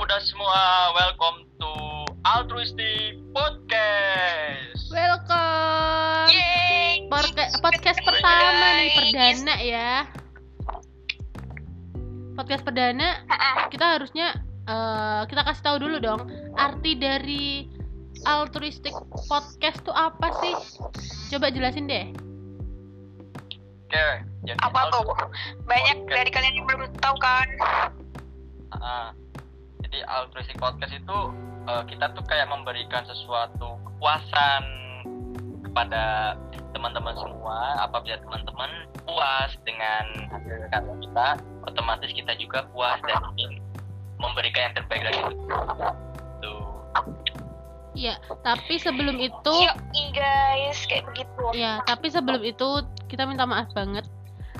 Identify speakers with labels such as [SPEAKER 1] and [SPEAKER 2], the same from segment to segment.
[SPEAKER 1] semua, welcome to Altruistic Podcast.
[SPEAKER 2] Welcome.
[SPEAKER 3] Yeay.
[SPEAKER 2] Porke- podcast pertama nih perdana ya. Podcast perdana
[SPEAKER 3] Ha-ha.
[SPEAKER 2] kita harusnya eh, kita kasih tahu dulu dong arti dari altruistic podcast tuh apa sih? Coba jelasin deh.
[SPEAKER 1] Oke, jadi
[SPEAKER 3] Apa tuh?
[SPEAKER 1] altru-
[SPEAKER 3] Banyak
[SPEAKER 1] Podcast.
[SPEAKER 3] dari kalian yang belum tahu kan?
[SPEAKER 1] Ah, jadi Altruistic Podcast itu eh, kita tuh kayak memberikan sesuatu kepuasan kepada teman-teman semua. Apabila teman-teman puas dengan hasil karya kita, otomatis kita juga puas dan ingin memberikan yang terbaik lagi. Tuh.
[SPEAKER 2] Iya, tapi sebelum itu
[SPEAKER 3] Yuk, guys, kayak begitu.
[SPEAKER 2] ya, tapi sebelum itu kita minta maaf banget.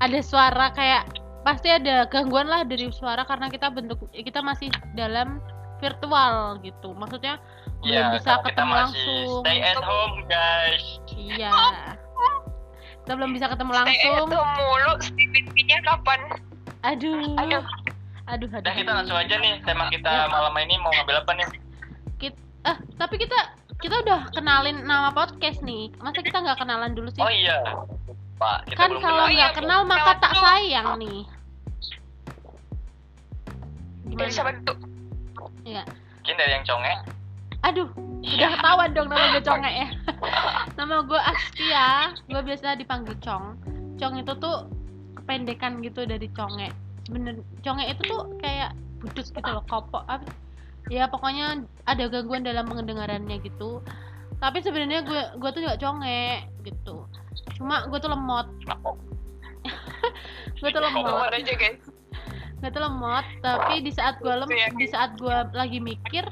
[SPEAKER 2] Ada suara kayak pasti ada gangguan lah dari suara karena kita bentuk kita masih dalam virtual gitu. Maksudnya
[SPEAKER 1] Ya,
[SPEAKER 2] belum bisa
[SPEAKER 1] karena kita
[SPEAKER 2] ketemu
[SPEAKER 1] masih
[SPEAKER 2] langsung.
[SPEAKER 1] stay at home guys.
[SPEAKER 2] Iya. Kita belum bisa ketemu
[SPEAKER 3] Stay at
[SPEAKER 2] langsung.
[SPEAKER 3] home mulu, stay kapan?
[SPEAKER 2] Aduh. Aduh,
[SPEAKER 3] Aduh.
[SPEAKER 2] aduh.
[SPEAKER 1] Udah kita langsung aja nih tema
[SPEAKER 2] Ya.
[SPEAKER 1] kita malam ini mau ngambil apa nih?
[SPEAKER 2] Eh, tapi kita kita udah kenalin nama podcast nih. Masa kita nggak kenalan dulu sih?
[SPEAKER 1] Oh iya. Pak, kita
[SPEAKER 2] kan
[SPEAKER 1] belum
[SPEAKER 2] kalau
[SPEAKER 1] kenal.
[SPEAKER 2] nggak
[SPEAKER 3] iya,
[SPEAKER 2] kenal
[SPEAKER 3] Bu.
[SPEAKER 2] maka
[SPEAKER 3] Kenal
[SPEAKER 2] tak
[SPEAKER 3] dulu.
[SPEAKER 2] sayang nih.
[SPEAKER 3] Dari siapa
[SPEAKER 2] Gimana?
[SPEAKER 3] itu?
[SPEAKER 1] Mungkin dari yang conge.
[SPEAKER 2] Aduh, udah ketahuan dong nama gue Conge ya. nama gue Astia, gue biasa dipanggil Cong. Cong itu tuh kependekan gitu dari Conge. Bener, Conge itu tuh kayak budek gitu loh, kopok. Apa- Ya pokoknya ada gangguan dalam pendengarannya gitu. Tapi sebenarnya gue gue tuh nggak conge gitu. Cuma gue tuh lemot, gue tuh lemot.
[SPEAKER 3] Keluar aja guys.
[SPEAKER 2] nggak tuh lemot tapi di saat gue lem
[SPEAKER 3] Iya.
[SPEAKER 2] di saat gua lagi mikir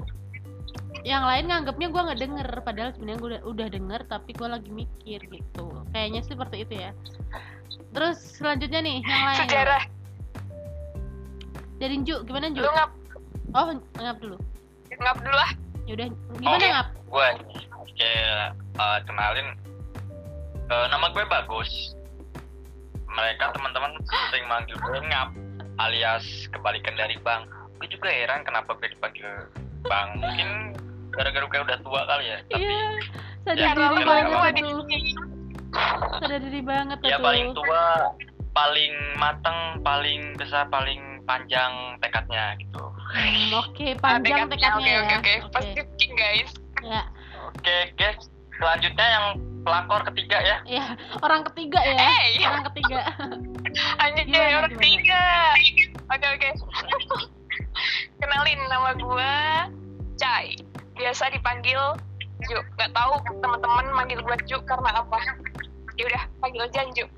[SPEAKER 2] yang lain nganggapnya gua nggak denger padahal sebenarnya gue udah, udah denger tapi gua lagi mikir gitu kayaknya sih seperti itu ya terus selanjutnya nih yang lain
[SPEAKER 3] Sejarah,
[SPEAKER 2] dari Ju gimana Ju
[SPEAKER 3] lu ngap,
[SPEAKER 2] oh ngap dulu
[SPEAKER 3] ngap dulu lah.
[SPEAKER 2] yaudah gimana
[SPEAKER 1] Oke.
[SPEAKER 2] ngap
[SPEAKER 1] Gue oke eh, kenalin Eh, nama gue Bagus. Mereka teman-teman sering manggil gue ngap alias kebalikan dari Bang. Gue juga heran kenapa gue dipanggil Bang. Mungkin gara-gara gue udah tua kali ya. Tapi
[SPEAKER 2] iya
[SPEAKER 1] Ya,
[SPEAKER 2] sadar
[SPEAKER 3] Karena
[SPEAKER 2] diri
[SPEAKER 1] gimana,
[SPEAKER 2] banget
[SPEAKER 3] gua
[SPEAKER 1] Ngap?
[SPEAKER 2] tuh
[SPEAKER 3] di
[SPEAKER 2] sadar diri banget
[SPEAKER 1] ya paling
[SPEAKER 2] tuh
[SPEAKER 1] tua, paling mateng, paling besar, paling panjang tekadnya gitu.
[SPEAKER 2] Hmm, oke panjang
[SPEAKER 3] Oke, oke,
[SPEAKER 2] tekadnya ya
[SPEAKER 3] oke, oke.
[SPEAKER 2] Oke.
[SPEAKER 3] Pasti king guys.
[SPEAKER 2] ya
[SPEAKER 1] Oke guys, selanjutnya yang pelakor ketiga ya.
[SPEAKER 2] ya orang ketiga ya
[SPEAKER 3] Hey.
[SPEAKER 2] orang ketiga
[SPEAKER 3] Anjir,
[SPEAKER 2] Gimana,
[SPEAKER 3] orang
[SPEAKER 2] gimana?
[SPEAKER 3] tiga. Oke, oke. Kenalin nama gua Cai. Biasa dipanggil Juk. Gak tahu teman-teman manggil gua Juk karena apa. Ya udah, panggil aja Juk.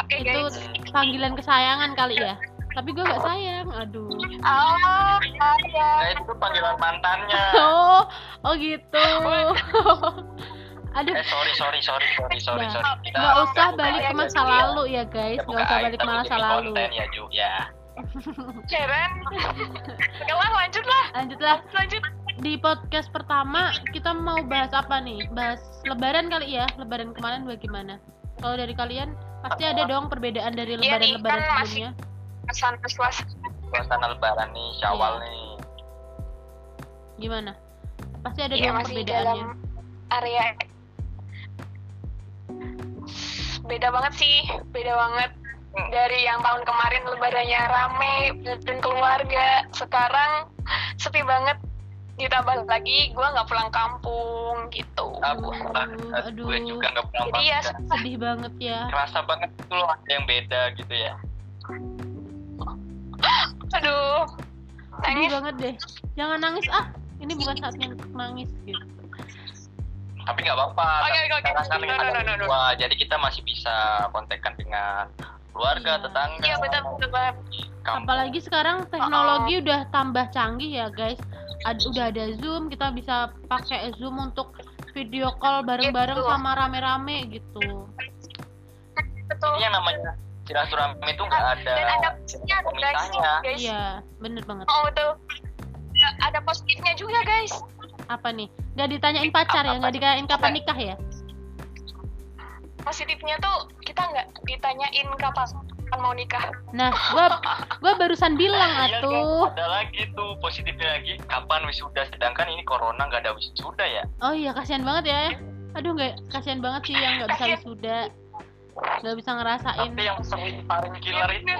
[SPEAKER 3] Oke,
[SPEAKER 2] itu
[SPEAKER 3] guys.
[SPEAKER 2] panggilan kesayangan kali ya tapi gue gak sayang aduh
[SPEAKER 3] Oh,
[SPEAKER 1] Nah
[SPEAKER 3] saya.
[SPEAKER 1] itu tuh panggilan mantannya.
[SPEAKER 3] Ah.
[SPEAKER 2] oh oh gitu aduh
[SPEAKER 1] Eh sorry sorry sorry sorry sorry
[SPEAKER 2] Mbak,
[SPEAKER 1] sorry. Kita
[SPEAKER 2] nggak usah
[SPEAKER 3] buka
[SPEAKER 2] balik ke
[SPEAKER 3] aib,
[SPEAKER 2] masa
[SPEAKER 1] Ju, ya.
[SPEAKER 2] lalu ya guys
[SPEAKER 1] Kita
[SPEAKER 2] nggak
[SPEAKER 1] buka
[SPEAKER 2] usah
[SPEAKER 1] aib,
[SPEAKER 2] balik ke
[SPEAKER 1] tapi
[SPEAKER 2] masa
[SPEAKER 1] demi
[SPEAKER 2] lalu
[SPEAKER 1] Konten ya Ju ya.
[SPEAKER 3] Keren. Oke lah, lanjut lah.
[SPEAKER 2] lanjutlah
[SPEAKER 3] Lanjut.
[SPEAKER 2] di podcast pertama kita mau bahas apa nih bahas lebaran kali ya lebaran kemarin bagaimana kalau dari kalian pasti ada dong perbedaan dari
[SPEAKER 3] Iya nih,
[SPEAKER 2] lebaran-lebaran
[SPEAKER 3] kan masih-
[SPEAKER 2] sebelumnya
[SPEAKER 3] Pesan pesuas.
[SPEAKER 1] Suasana lebaran nih, syawal
[SPEAKER 2] Iya.
[SPEAKER 1] nih.
[SPEAKER 2] gimana pasti ada
[SPEAKER 3] Iya,
[SPEAKER 2] dong
[SPEAKER 3] masih
[SPEAKER 2] perbedaannya
[SPEAKER 3] dalam
[SPEAKER 2] ya.
[SPEAKER 3] area. Beda banget sih. Beda banget. dari yang tahun kemarin lebarannya rame dan keluarga sekarang sepi banget ditambah lagi gue nggak pulang kampung gitu
[SPEAKER 1] Aku, ah, ah,
[SPEAKER 2] Aduh.
[SPEAKER 1] gue juga nggak pernah
[SPEAKER 3] jadi ya
[SPEAKER 1] makan.
[SPEAKER 3] susah
[SPEAKER 2] sedih banget ya
[SPEAKER 1] Kerasa banget tuh loh ada yang beda gitu ya.
[SPEAKER 3] aduh
[SPEAKER 2] sedih
[SPEAKER 3] nangis
[SPEAKER 2] banget deh jangan nangis ah ini bukan saatnya untuk nangis gitu
[SPEAKER 1] Tapi nggak apa-apa.
[SPEAKER 3] Oke,
[SPEAKER 1] tapi
[SPEAKER 3] oke, oke.
[SPEAKER 1] sekarang kan
[SPEAKER 3] No,
[SPEAKER 1] yang ada
[SPEAKER 3] no, no, no, no.
[SPEAKER 1] dua, jadi kita masih bisa kontekan dengan keluarga,
[SPEAKER 2] Iya.
[SPEAKER 1] tetangga,
[SPEAKER 3] iya betul betul banget
[SPEAKER 1] kampung.
[SPEAKER 2] apalagi
[SPEAKER 3] Oh,
[SPEAKER 2] sekarang teknologi udah tambah canggih ya guys Ad- udah ada zoom kita bisa pakai zoom untuk video call bareng-bareng
[SPEAKER 3] Gitu.
[SPEAKER 2] sama rame-rame gitu
[SPEAKER 3] betul
[SPEAKER 1] Ini yang namanya silaturahmi itu nggak ada
[SPEAKER 3] Ah, dan ada plusnya guys
[SPEAKER 1] pemisahnya.
[SPEAKER 3] guys
[SPEAKER 2] iya bener banget
[SPEAKER 3] oh betul Ya, ada positifnya juga guys
[SPEAKER 2] apa nih nggak ditanyain pacar ya
[SPEAKER 1] Apa-
[SPEAKER 2] nggak ditanyain kapan nikah ya
[SPEAKER 3] positifnya tuh kita nggak ditanyain kapan kapan mau nikah
[SPEAKER 2] Nah, gua gua barusan bilang
[SPEAKER 1] Iya,
[SPEAKER 2] atuh.
[SPEAKER 1] kan? ada lagi tuh positifnya lagi kapan wisuda sedangkan ini corona nggak ada wisuda ya
[SPEAKER 2] Oh iya, kasihan banget ya. Aduh, nggak kasihan banget sih yang nggak bisa
[SPEAKER 3] Kasihan. ya.
[SPEAKER 2] wisuda. Nggak bisa ngerasain.
[SPEAKER 1] tapi yang sering paling
[SPEAKER 2] Iya,
[SPEAKER 1] killer itu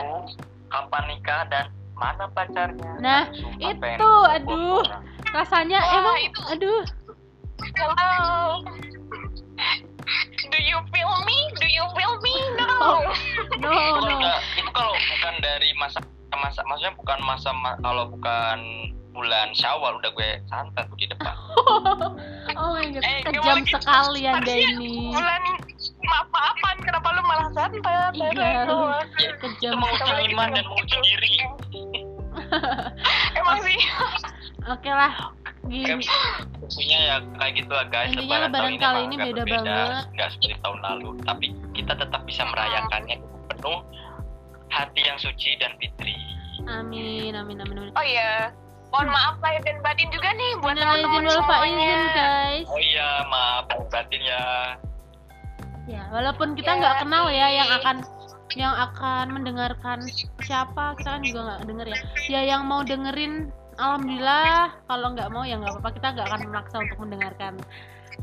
[SPEAKER 1] kapan nikah dan mana pacarnya
[SPEAKER 2] Nah,
[SPEAKER 1] Sumpah,
[SPEAKER 2] itu,
[SPEAKER 1] pengen pukul
[SPEAKER 2] aduh.
[SPEAKER 1] orang.
[SPEAKER 2] Rasanya
[SPEAKER 3] Wah,
[SPEAKER 2] emang
[SPEAKER 3] itu.
[SPEAKER 2] aduh,
[SPEAKER 3] hello do you feel me do you feel me
[SPEAKER 2] Oh,
[SPEAKER 1] itu
[SPEAKER 2] no,
[SPEAKER 3] no
[SPEAKER 2] no.
[SPEAKER 1] kalau nggak- itu kalau bukan dari masa masa maksudnya bukan masa ma- kalau bukan bulan syawal udah gue santet tuh di depan
[SPEAKER 2] Oh my god,
[SPEAKER 3] Eh,
[SPEAKER 2] kejam
[SPEAKER 3] gimana gitu?
[SPEAKER 2] sekali Anda
[SPEAKER 3] Harusnya
[SPEAKER 2] ini.
[SPEAKER 3] bulan maaf maafan kenapa lu malah santet
[SPEAKER 2] Iya.
[SPEAKER 3] Aduh,
[SPEAKER 1] itu
[SPEAKER 2] Kejam
[SPEAKER 1] menguji
[SPEAKER 2] sekali.
[SPEAKER 1] iman dan menguji diri
[SPEAKER 2] Iya,
[SPEAKER 3] emang sih
[SPEAKER 2] Oke lah. Gini.
[SPEAKER 1] Intinya ya kayak gitu lah guys
[SPEAKER 2] Intinya lebaran
[SPEAKER 1] tahun
[SPEAKER 2] kali
[SPEAKER 1] mah
[SPEAKER 2] ini
[SPEAKER 1] agak
[SPEAKER 2] beda
[SPEAKER 1] berbeda,
[SPEAKER 2] banget. Iya.
[SPEAKER 1] nggak seperti tahun lalu tapi kita tetap bisa merayakannya dengan penuh hati yang suci dan fitri
[SPEAKER 2] Amin, amin, amin, amin.
[SPEAKER 3] oh iya mohon maaf lahir dan batin juga nih buat
[SPEAKER 2] Minal aidin
[SPEAKER 3] teman-teman
[SPEAKER 2] wal
[SPEAKER 3] semuanya
[SPEAKER 2] faizin, guys.
[SPEAKER 1] oh iya maaf batin ya
[SPEAKER 2] Ya, walaupun kita
[SPEAKER 3] Ya,
[SPEAKER 2] nggak kenal ya
[SPEAKER 3] tapi-
[SPEAKER 2] yang akan yang akan mendengarkan siapa, kita kan juga nggak denger ya. Ya yang mau dengerin, alhamdulillah. Kalau nggak mau ya nggak apa-apa, kita nggak akan memaksa untuk mendengarkan.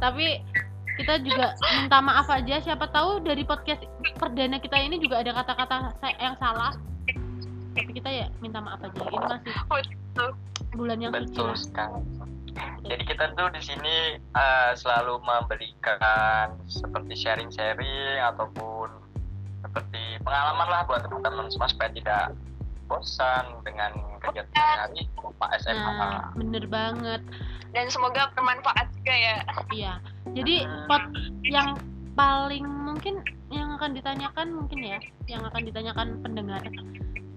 [SPEAKER 2] Tapi kita juga minta maaf aja. Siapa tahu dari podcast perdana kita ini juga ada kata-kata sa- yang salah. Tapi kita ya minta maaf aja. Ini masih
[SPEAKER 3] Betul.
[SPEAKER 2] bulan yang suci.
[SPEAKER 1] Betul
[SPEAKER 2] lah.
[SPEAKER 1] sekali. Jadi kita tuh di sini eh, selalu memberikan seperti sharing-sharing ataupun seperti pengalaman lah buat teman-teman semua supaya tidak bosan dengan kegiatan hari Pak SMA.
[SPEAKER 2] Nah, bener banget.
[SPEAKER 3] dan semoga bermanfaat juga ya
[SPEAKER 2] Iya. Jadi pot yang paling mungkin yang akan ditanyakan mungkin ya, yang akan ditanyakan pendengar.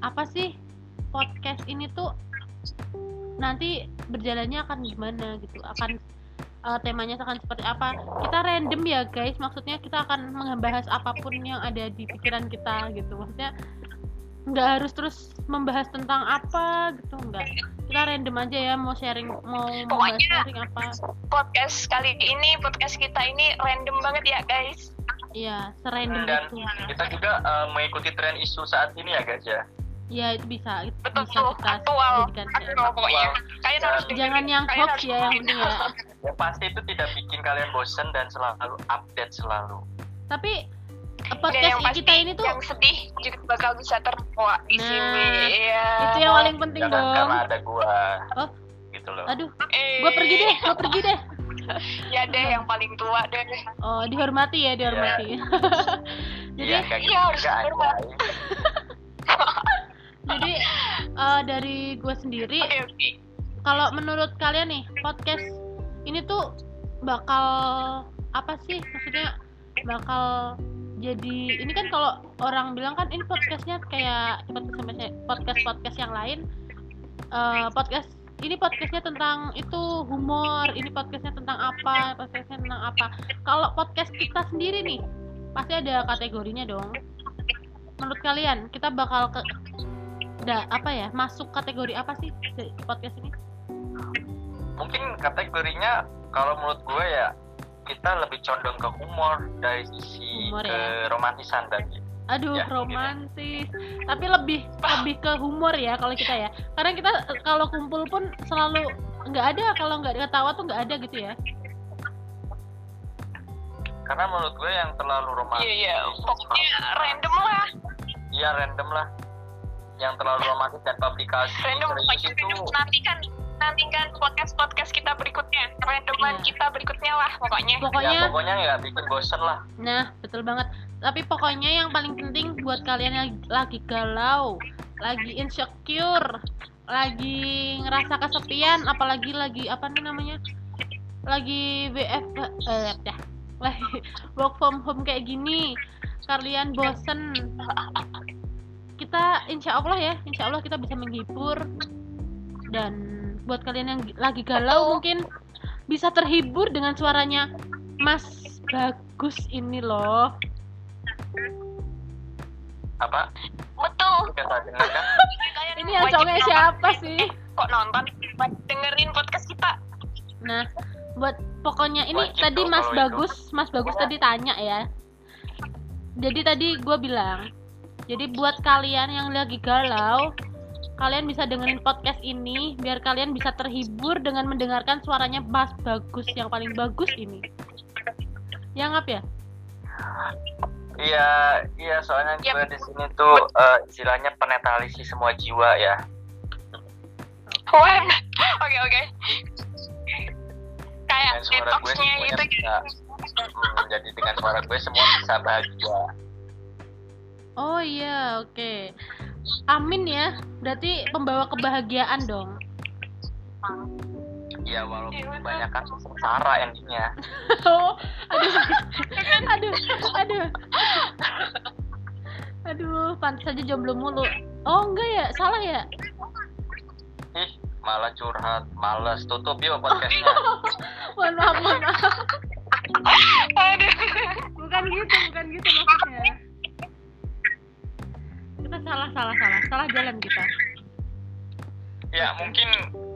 [SPEAKER 2] Apa sih podcast ini tuh nanti berjalannya akan gimana gitu? Akan eh, temanya akan seperti apa? Kita random ya guys, maksudnya kita akan membahas apapun yang ada di pikiran kita gitu. Maksudnya nggak harus terus membahas tentang apa gitu enggak kita random aja ya mau sharing mau membahas
[SPEAKER 3] Pokoknya-
[SPEAKER 2] sharing apa
[SPEAKER 3] podcast kali ini podcast kita ini random banget ya guys
[SPEAKER 2] Iya, serandom
[SPEAKER 1] Dan
[SPEAKER 2] itu.
[SPEAKER 1] kita juga eh, mengikuti tren isu saat ini ya guys ya.
[SPEAKER 2] Iya, itu bisa. Itu
[SPEAKER 3] betul
[SPEAKER 2] bisa
[SPEAKER 3] tuh
[SPEAKER 2] kita
[SPEAKER 3] aktual
[SPEAKER 2] jadikan. ya.
[SPEAKER 3] aktual pokoknya kalian harus dengerin.
[SPEAKER 2] Jangan yang
[SPEAKER 3] Kalian
[SPEAKER 2] hoax
[SPEAKER 3] harus
[SPEAKER 2] ya, yang
[SPEAKER 3] dengerin.
[SPEAKER 2] penting ya.
[SPEAKER 1] Yang pasti itu tidak bikin kalian bosan dan selalu update selalu.
[SPEAKER 2] Tapi eh,
[SPEAKER 3] Dan
[SPEAKER 2] podcast
[SPEAKER 3] Iya, yang pasti
[SPEAKER 2] kita ini tuh
[SPEAKER 3] yang sedih juga bakal bisa terbawa di
[SPEAKER 2] Nah,
[SPEAKER 3] sini ya
[SPEAKER 2] itu yang paling penting
[SPEAKER 1] Jangan Ya
[SPEAKER 2] dong.
[SPEAKER 1] kan? karena ada gua.
[SPEAKER 2] Oh.
[SPEAKER 1] Gitu loh.
[SPEAKER 2] Aduh, gue pergi deh, Nah. gue pergi deh.
[SPEAKER 3] ya Eh, deh yang paling tua deh
[SPEAKER 2] Oh, dihormati ya, dihormati. Jadi,
[SPEAKER 1] Iya, kayak gitu
[SPEAKER 3] Iya, harus
[SPEAKER 1] juga,
[SPEAKER 3] hormat.
[SPEAKER 1] guys.
[SPEAKER 2] jadi eh, dari gue sendiri,
[SPEAKER 3] oke oke
[SPEAKER 2] kalau menurut kalian nih podcast ini tuh bakal apa sih maksudnya bakal jadi ini kan kalau orang bilang kan ini podcastnya kayak podcast podcast yang lain Eh, podcast ini podcastnya tentang itu humor ini podcastnya tentang apa podcastnya tentang apa kalau podcast kita sendiri nih pasti ada kategorinya dong menurut kalian kita bakal ke da, apa ya masuk kategori apa sih di podcast ini
[SPEAKER 1] mungkin kategorinya kalau menurut gue ya kita lebih condong ke humor dari sisi
[SPEAKER 2] Humor
[SPEAKER 1] ke
[SPEAKER 2] ya.
[SPEAKER 1] romantisan tadi
[SPEAKER 2] Aduh,
[SPEAKER 1] Ya,
[SPEAKER 2] romantis. Tapi lebih lebih ke humor ya kalau kita ya. Karena kita eh, kalau kumpul pun selalu nggak ada kalau nggak ada ketawa tuh nggak ada gitu ya.
[SPEAKER 1] karena menurut gue yang terlalu romantis
[SPEAKER 3] iya iya pokoknya random lah
[SPEAKER 1] iya random lah yang terlalu romantis dan publikasi
[SPEAKER 3] random gitu.
[SPEAKER 1] serius
[SPEAKER 3] pokoknya random nantikan nantikan podcast podcast kita berikutnya randoman
[SPEAKER 2] Iya.
[SPEAKER 3] kita berikutnya lah pokoknya
[SPEAKER 1] ya,
[SPEAKER 2] Pokoknya
[SPEAKER 1] pokoknya nggak bikin bosen lah
[SPEAKER 2] nah, betul banget. Tapi pokoknya yang paling penting buat kalian yang lagi galau, lagi insecure, lagi ngerasa kesepian, apalagi lagi apa nih namanya? Lagi WF eh dah. Lagi work from home kayak gini. Kalian bosen, kita insya Allah ya insya Allah kita bisa menghibur dan buat kalian yang lagi galau mungkin bisa terhibur dengan suaranya Mas bagus ini loh
[SPEAKER 1] apa
[SPEAKER 3] betul
[SPEAKER 1] kita dengar kan
[SPEAKER 3] Kalian
[SPEAKER 2] ini yang
[SPEAKER 3] wajib
[SPEAKER 2] congek
[SPEAKER 3] nonton.
[SPEAKER 2] siapa sih
[SPEAKER 3] kok nonton wajib dengerin podcast kita
[SPEAKER 2] nah buat pokoknya ini
[SPEAKER 1] Wajib
[SPEAKER 2] tadi
[SPEAKER 1] dong
[SPEAKER 2] Mas
[SPEAKER 1] kalau
[SPEAKER 2] bagus Mas bagus
[SPEAKER 1] Pokoknya-
[SPEAKER 2] tadi tanya ya jadi tadi gue bilang Jadi buat kalian yang lagi galau, kalian bisa dengerin podcast ini biar kalian bisa terhibur dengan mendengarkan suaranya Mas Bagus yang paling bagus ini. Ya ngap ya?
[SPEAKER 1] Iya, iya soalnya
[SPEAKER 3] Yap.
[SPEAKER 1] gue di sini tuh eh, istilahnya penetralisi semua jiwa ya.
[SPEAKER 3] Wan. Oke oke.
[SPEAKER 2] Iya,
[SPEAKER 3] Kayak
[SPEAKER 1] Dengan suara gue
[SPEAKER 3] detoxnya
[SPEAKER 1] semuanya
[SPEAKER 2] kan.
[SPEAKER 3] gitu.
[SPEAKER 1] bisa. Hmm, jadi dengan suara gue semua bisa bahagia.
[SPEAKER 2] Oh iya, oke. Amin ya. Berarti pembawa kebahagiaan dong.
[SPEAKER 1] Iya walaupun kebanyakan sengsara endingnya.
[SPEAKER 2] Oh, aduh, aduh, aduh, aduh, pantas aja jomblo mulu. Oh enggak ya, salah ya.
[SPEAKER 1] Ih malah curhat, males tutup yuk podcastnya.
[SPEAKER 2] Mohon maaf, mohon maaf.
[SPEAKER 3] Aduh. Nah,
[SPEAKER 2] Bukan gitu, bukan gitu maksudnya. Kita salah, salah, salah, salah jalan kita.
[SPEAKER 1] ya mungkin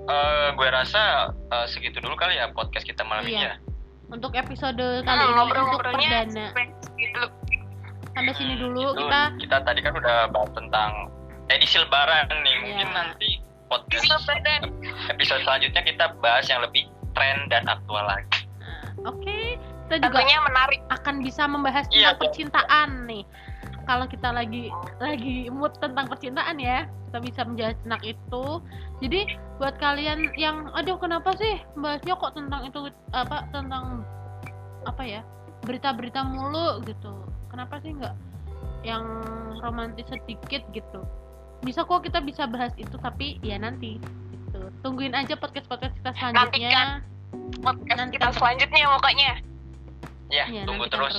[SPEAKER 1] eh, gue rasa eh, segitu dulu kali ya podcast kita malam ini
[SPEAKER 2] Iya.
[SPEAKER 1] ya.
[SPEAKER 2] Untuk episode kali
[SPEAKER 3] Nah,
[SPEAKER 2] ini, untuk
[SPEAKER 3] ngobrol-ngobrolnya
[SPEAKER 2] perdana,
[SPEAKER 3] gitu.
[SPEAKER 2] sampai sini
[SPEAKER 1] Hmm,
[SPEAKER 2] dulu
[SPEAKER 1] Itu
[SPEAKER 2] kita.
[SPEAKER 1] kita tadi kan udah bahas tentang edisi lebaran nih. Mungkin
[SPEAKER 2] Iya.
[SPEAKER 1] nanti
[SPEAKER 3] Isi
[SPEAKER 1] podcast
[SPEAKER 3] badan.
[SPEAKER 1] episode selanjutnya kita bahas yang lebih tren dan aktual lagi.
[SPEAKER 2] Oke, kita juga
[SPEAKER 3] Tentunya menarik.
[SPEAKER 2] akan bisa membahas
[SPEAKER 1] Iya,
[SPEAKER 2] tentang
[SPEAKER 1] Kak.
[SPEAKER 2] percintaan nih. Kalau kita lagi lagi mood tentang percintaan ya, kita bisa menjahit tentang itu. Jadi buat kalian yang aduh kenapa sih bahasnya kok tentang itu apa tentang apa ya? Berita-berita mulu gitu. Kenapa sih nggak yang romantis sedikit gitu? Bisa kok kita bisa bahas itu tapi ya nanti gitu. Tungguin aja podcast-podcast kita selanjutnya.
[SPEAKER 3] Nantikan. Podcast
[SPEAKER 2] Nanti.
[SPEAKER 3] kita selanjutnya pokoknya.
[SPEAKER 1] Ya,
[SPEAKER 2] Iya,
[SPEAKER 1] tunggu
[SPEAKER 2] nantikan
[SPEAKER 1] terus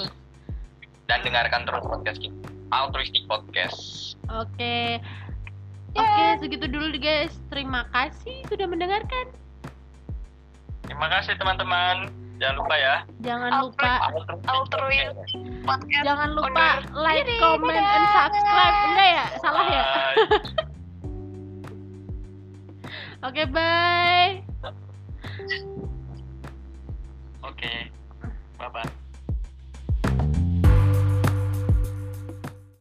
[SPEAKER 1] dan dengarkan terus podcast kita. Altruistic Podcast.
[SPEAKER 2] Oke. Oke, segitu dulu deh, guys. Terima kasih sudah mendengarkan.
[SPEAKER 1] Terima kasih teman-teman. Jangan lupa ya.
[SPEAKER 2] Jangan lupa
[SPEAKER 3] Altruistic Podcast.
[SPEAKER 2] jangan lupa like,
[SPEAKER 3] Diri,
[SPEAKER 2] comment, and
[SPEAKER 3] dadah.
[SPEAKER 2] subscribe. Enggak ya? Salah ya?
[SPEAKER 1] Bye.
[SPEAKER 2] Oke, bye.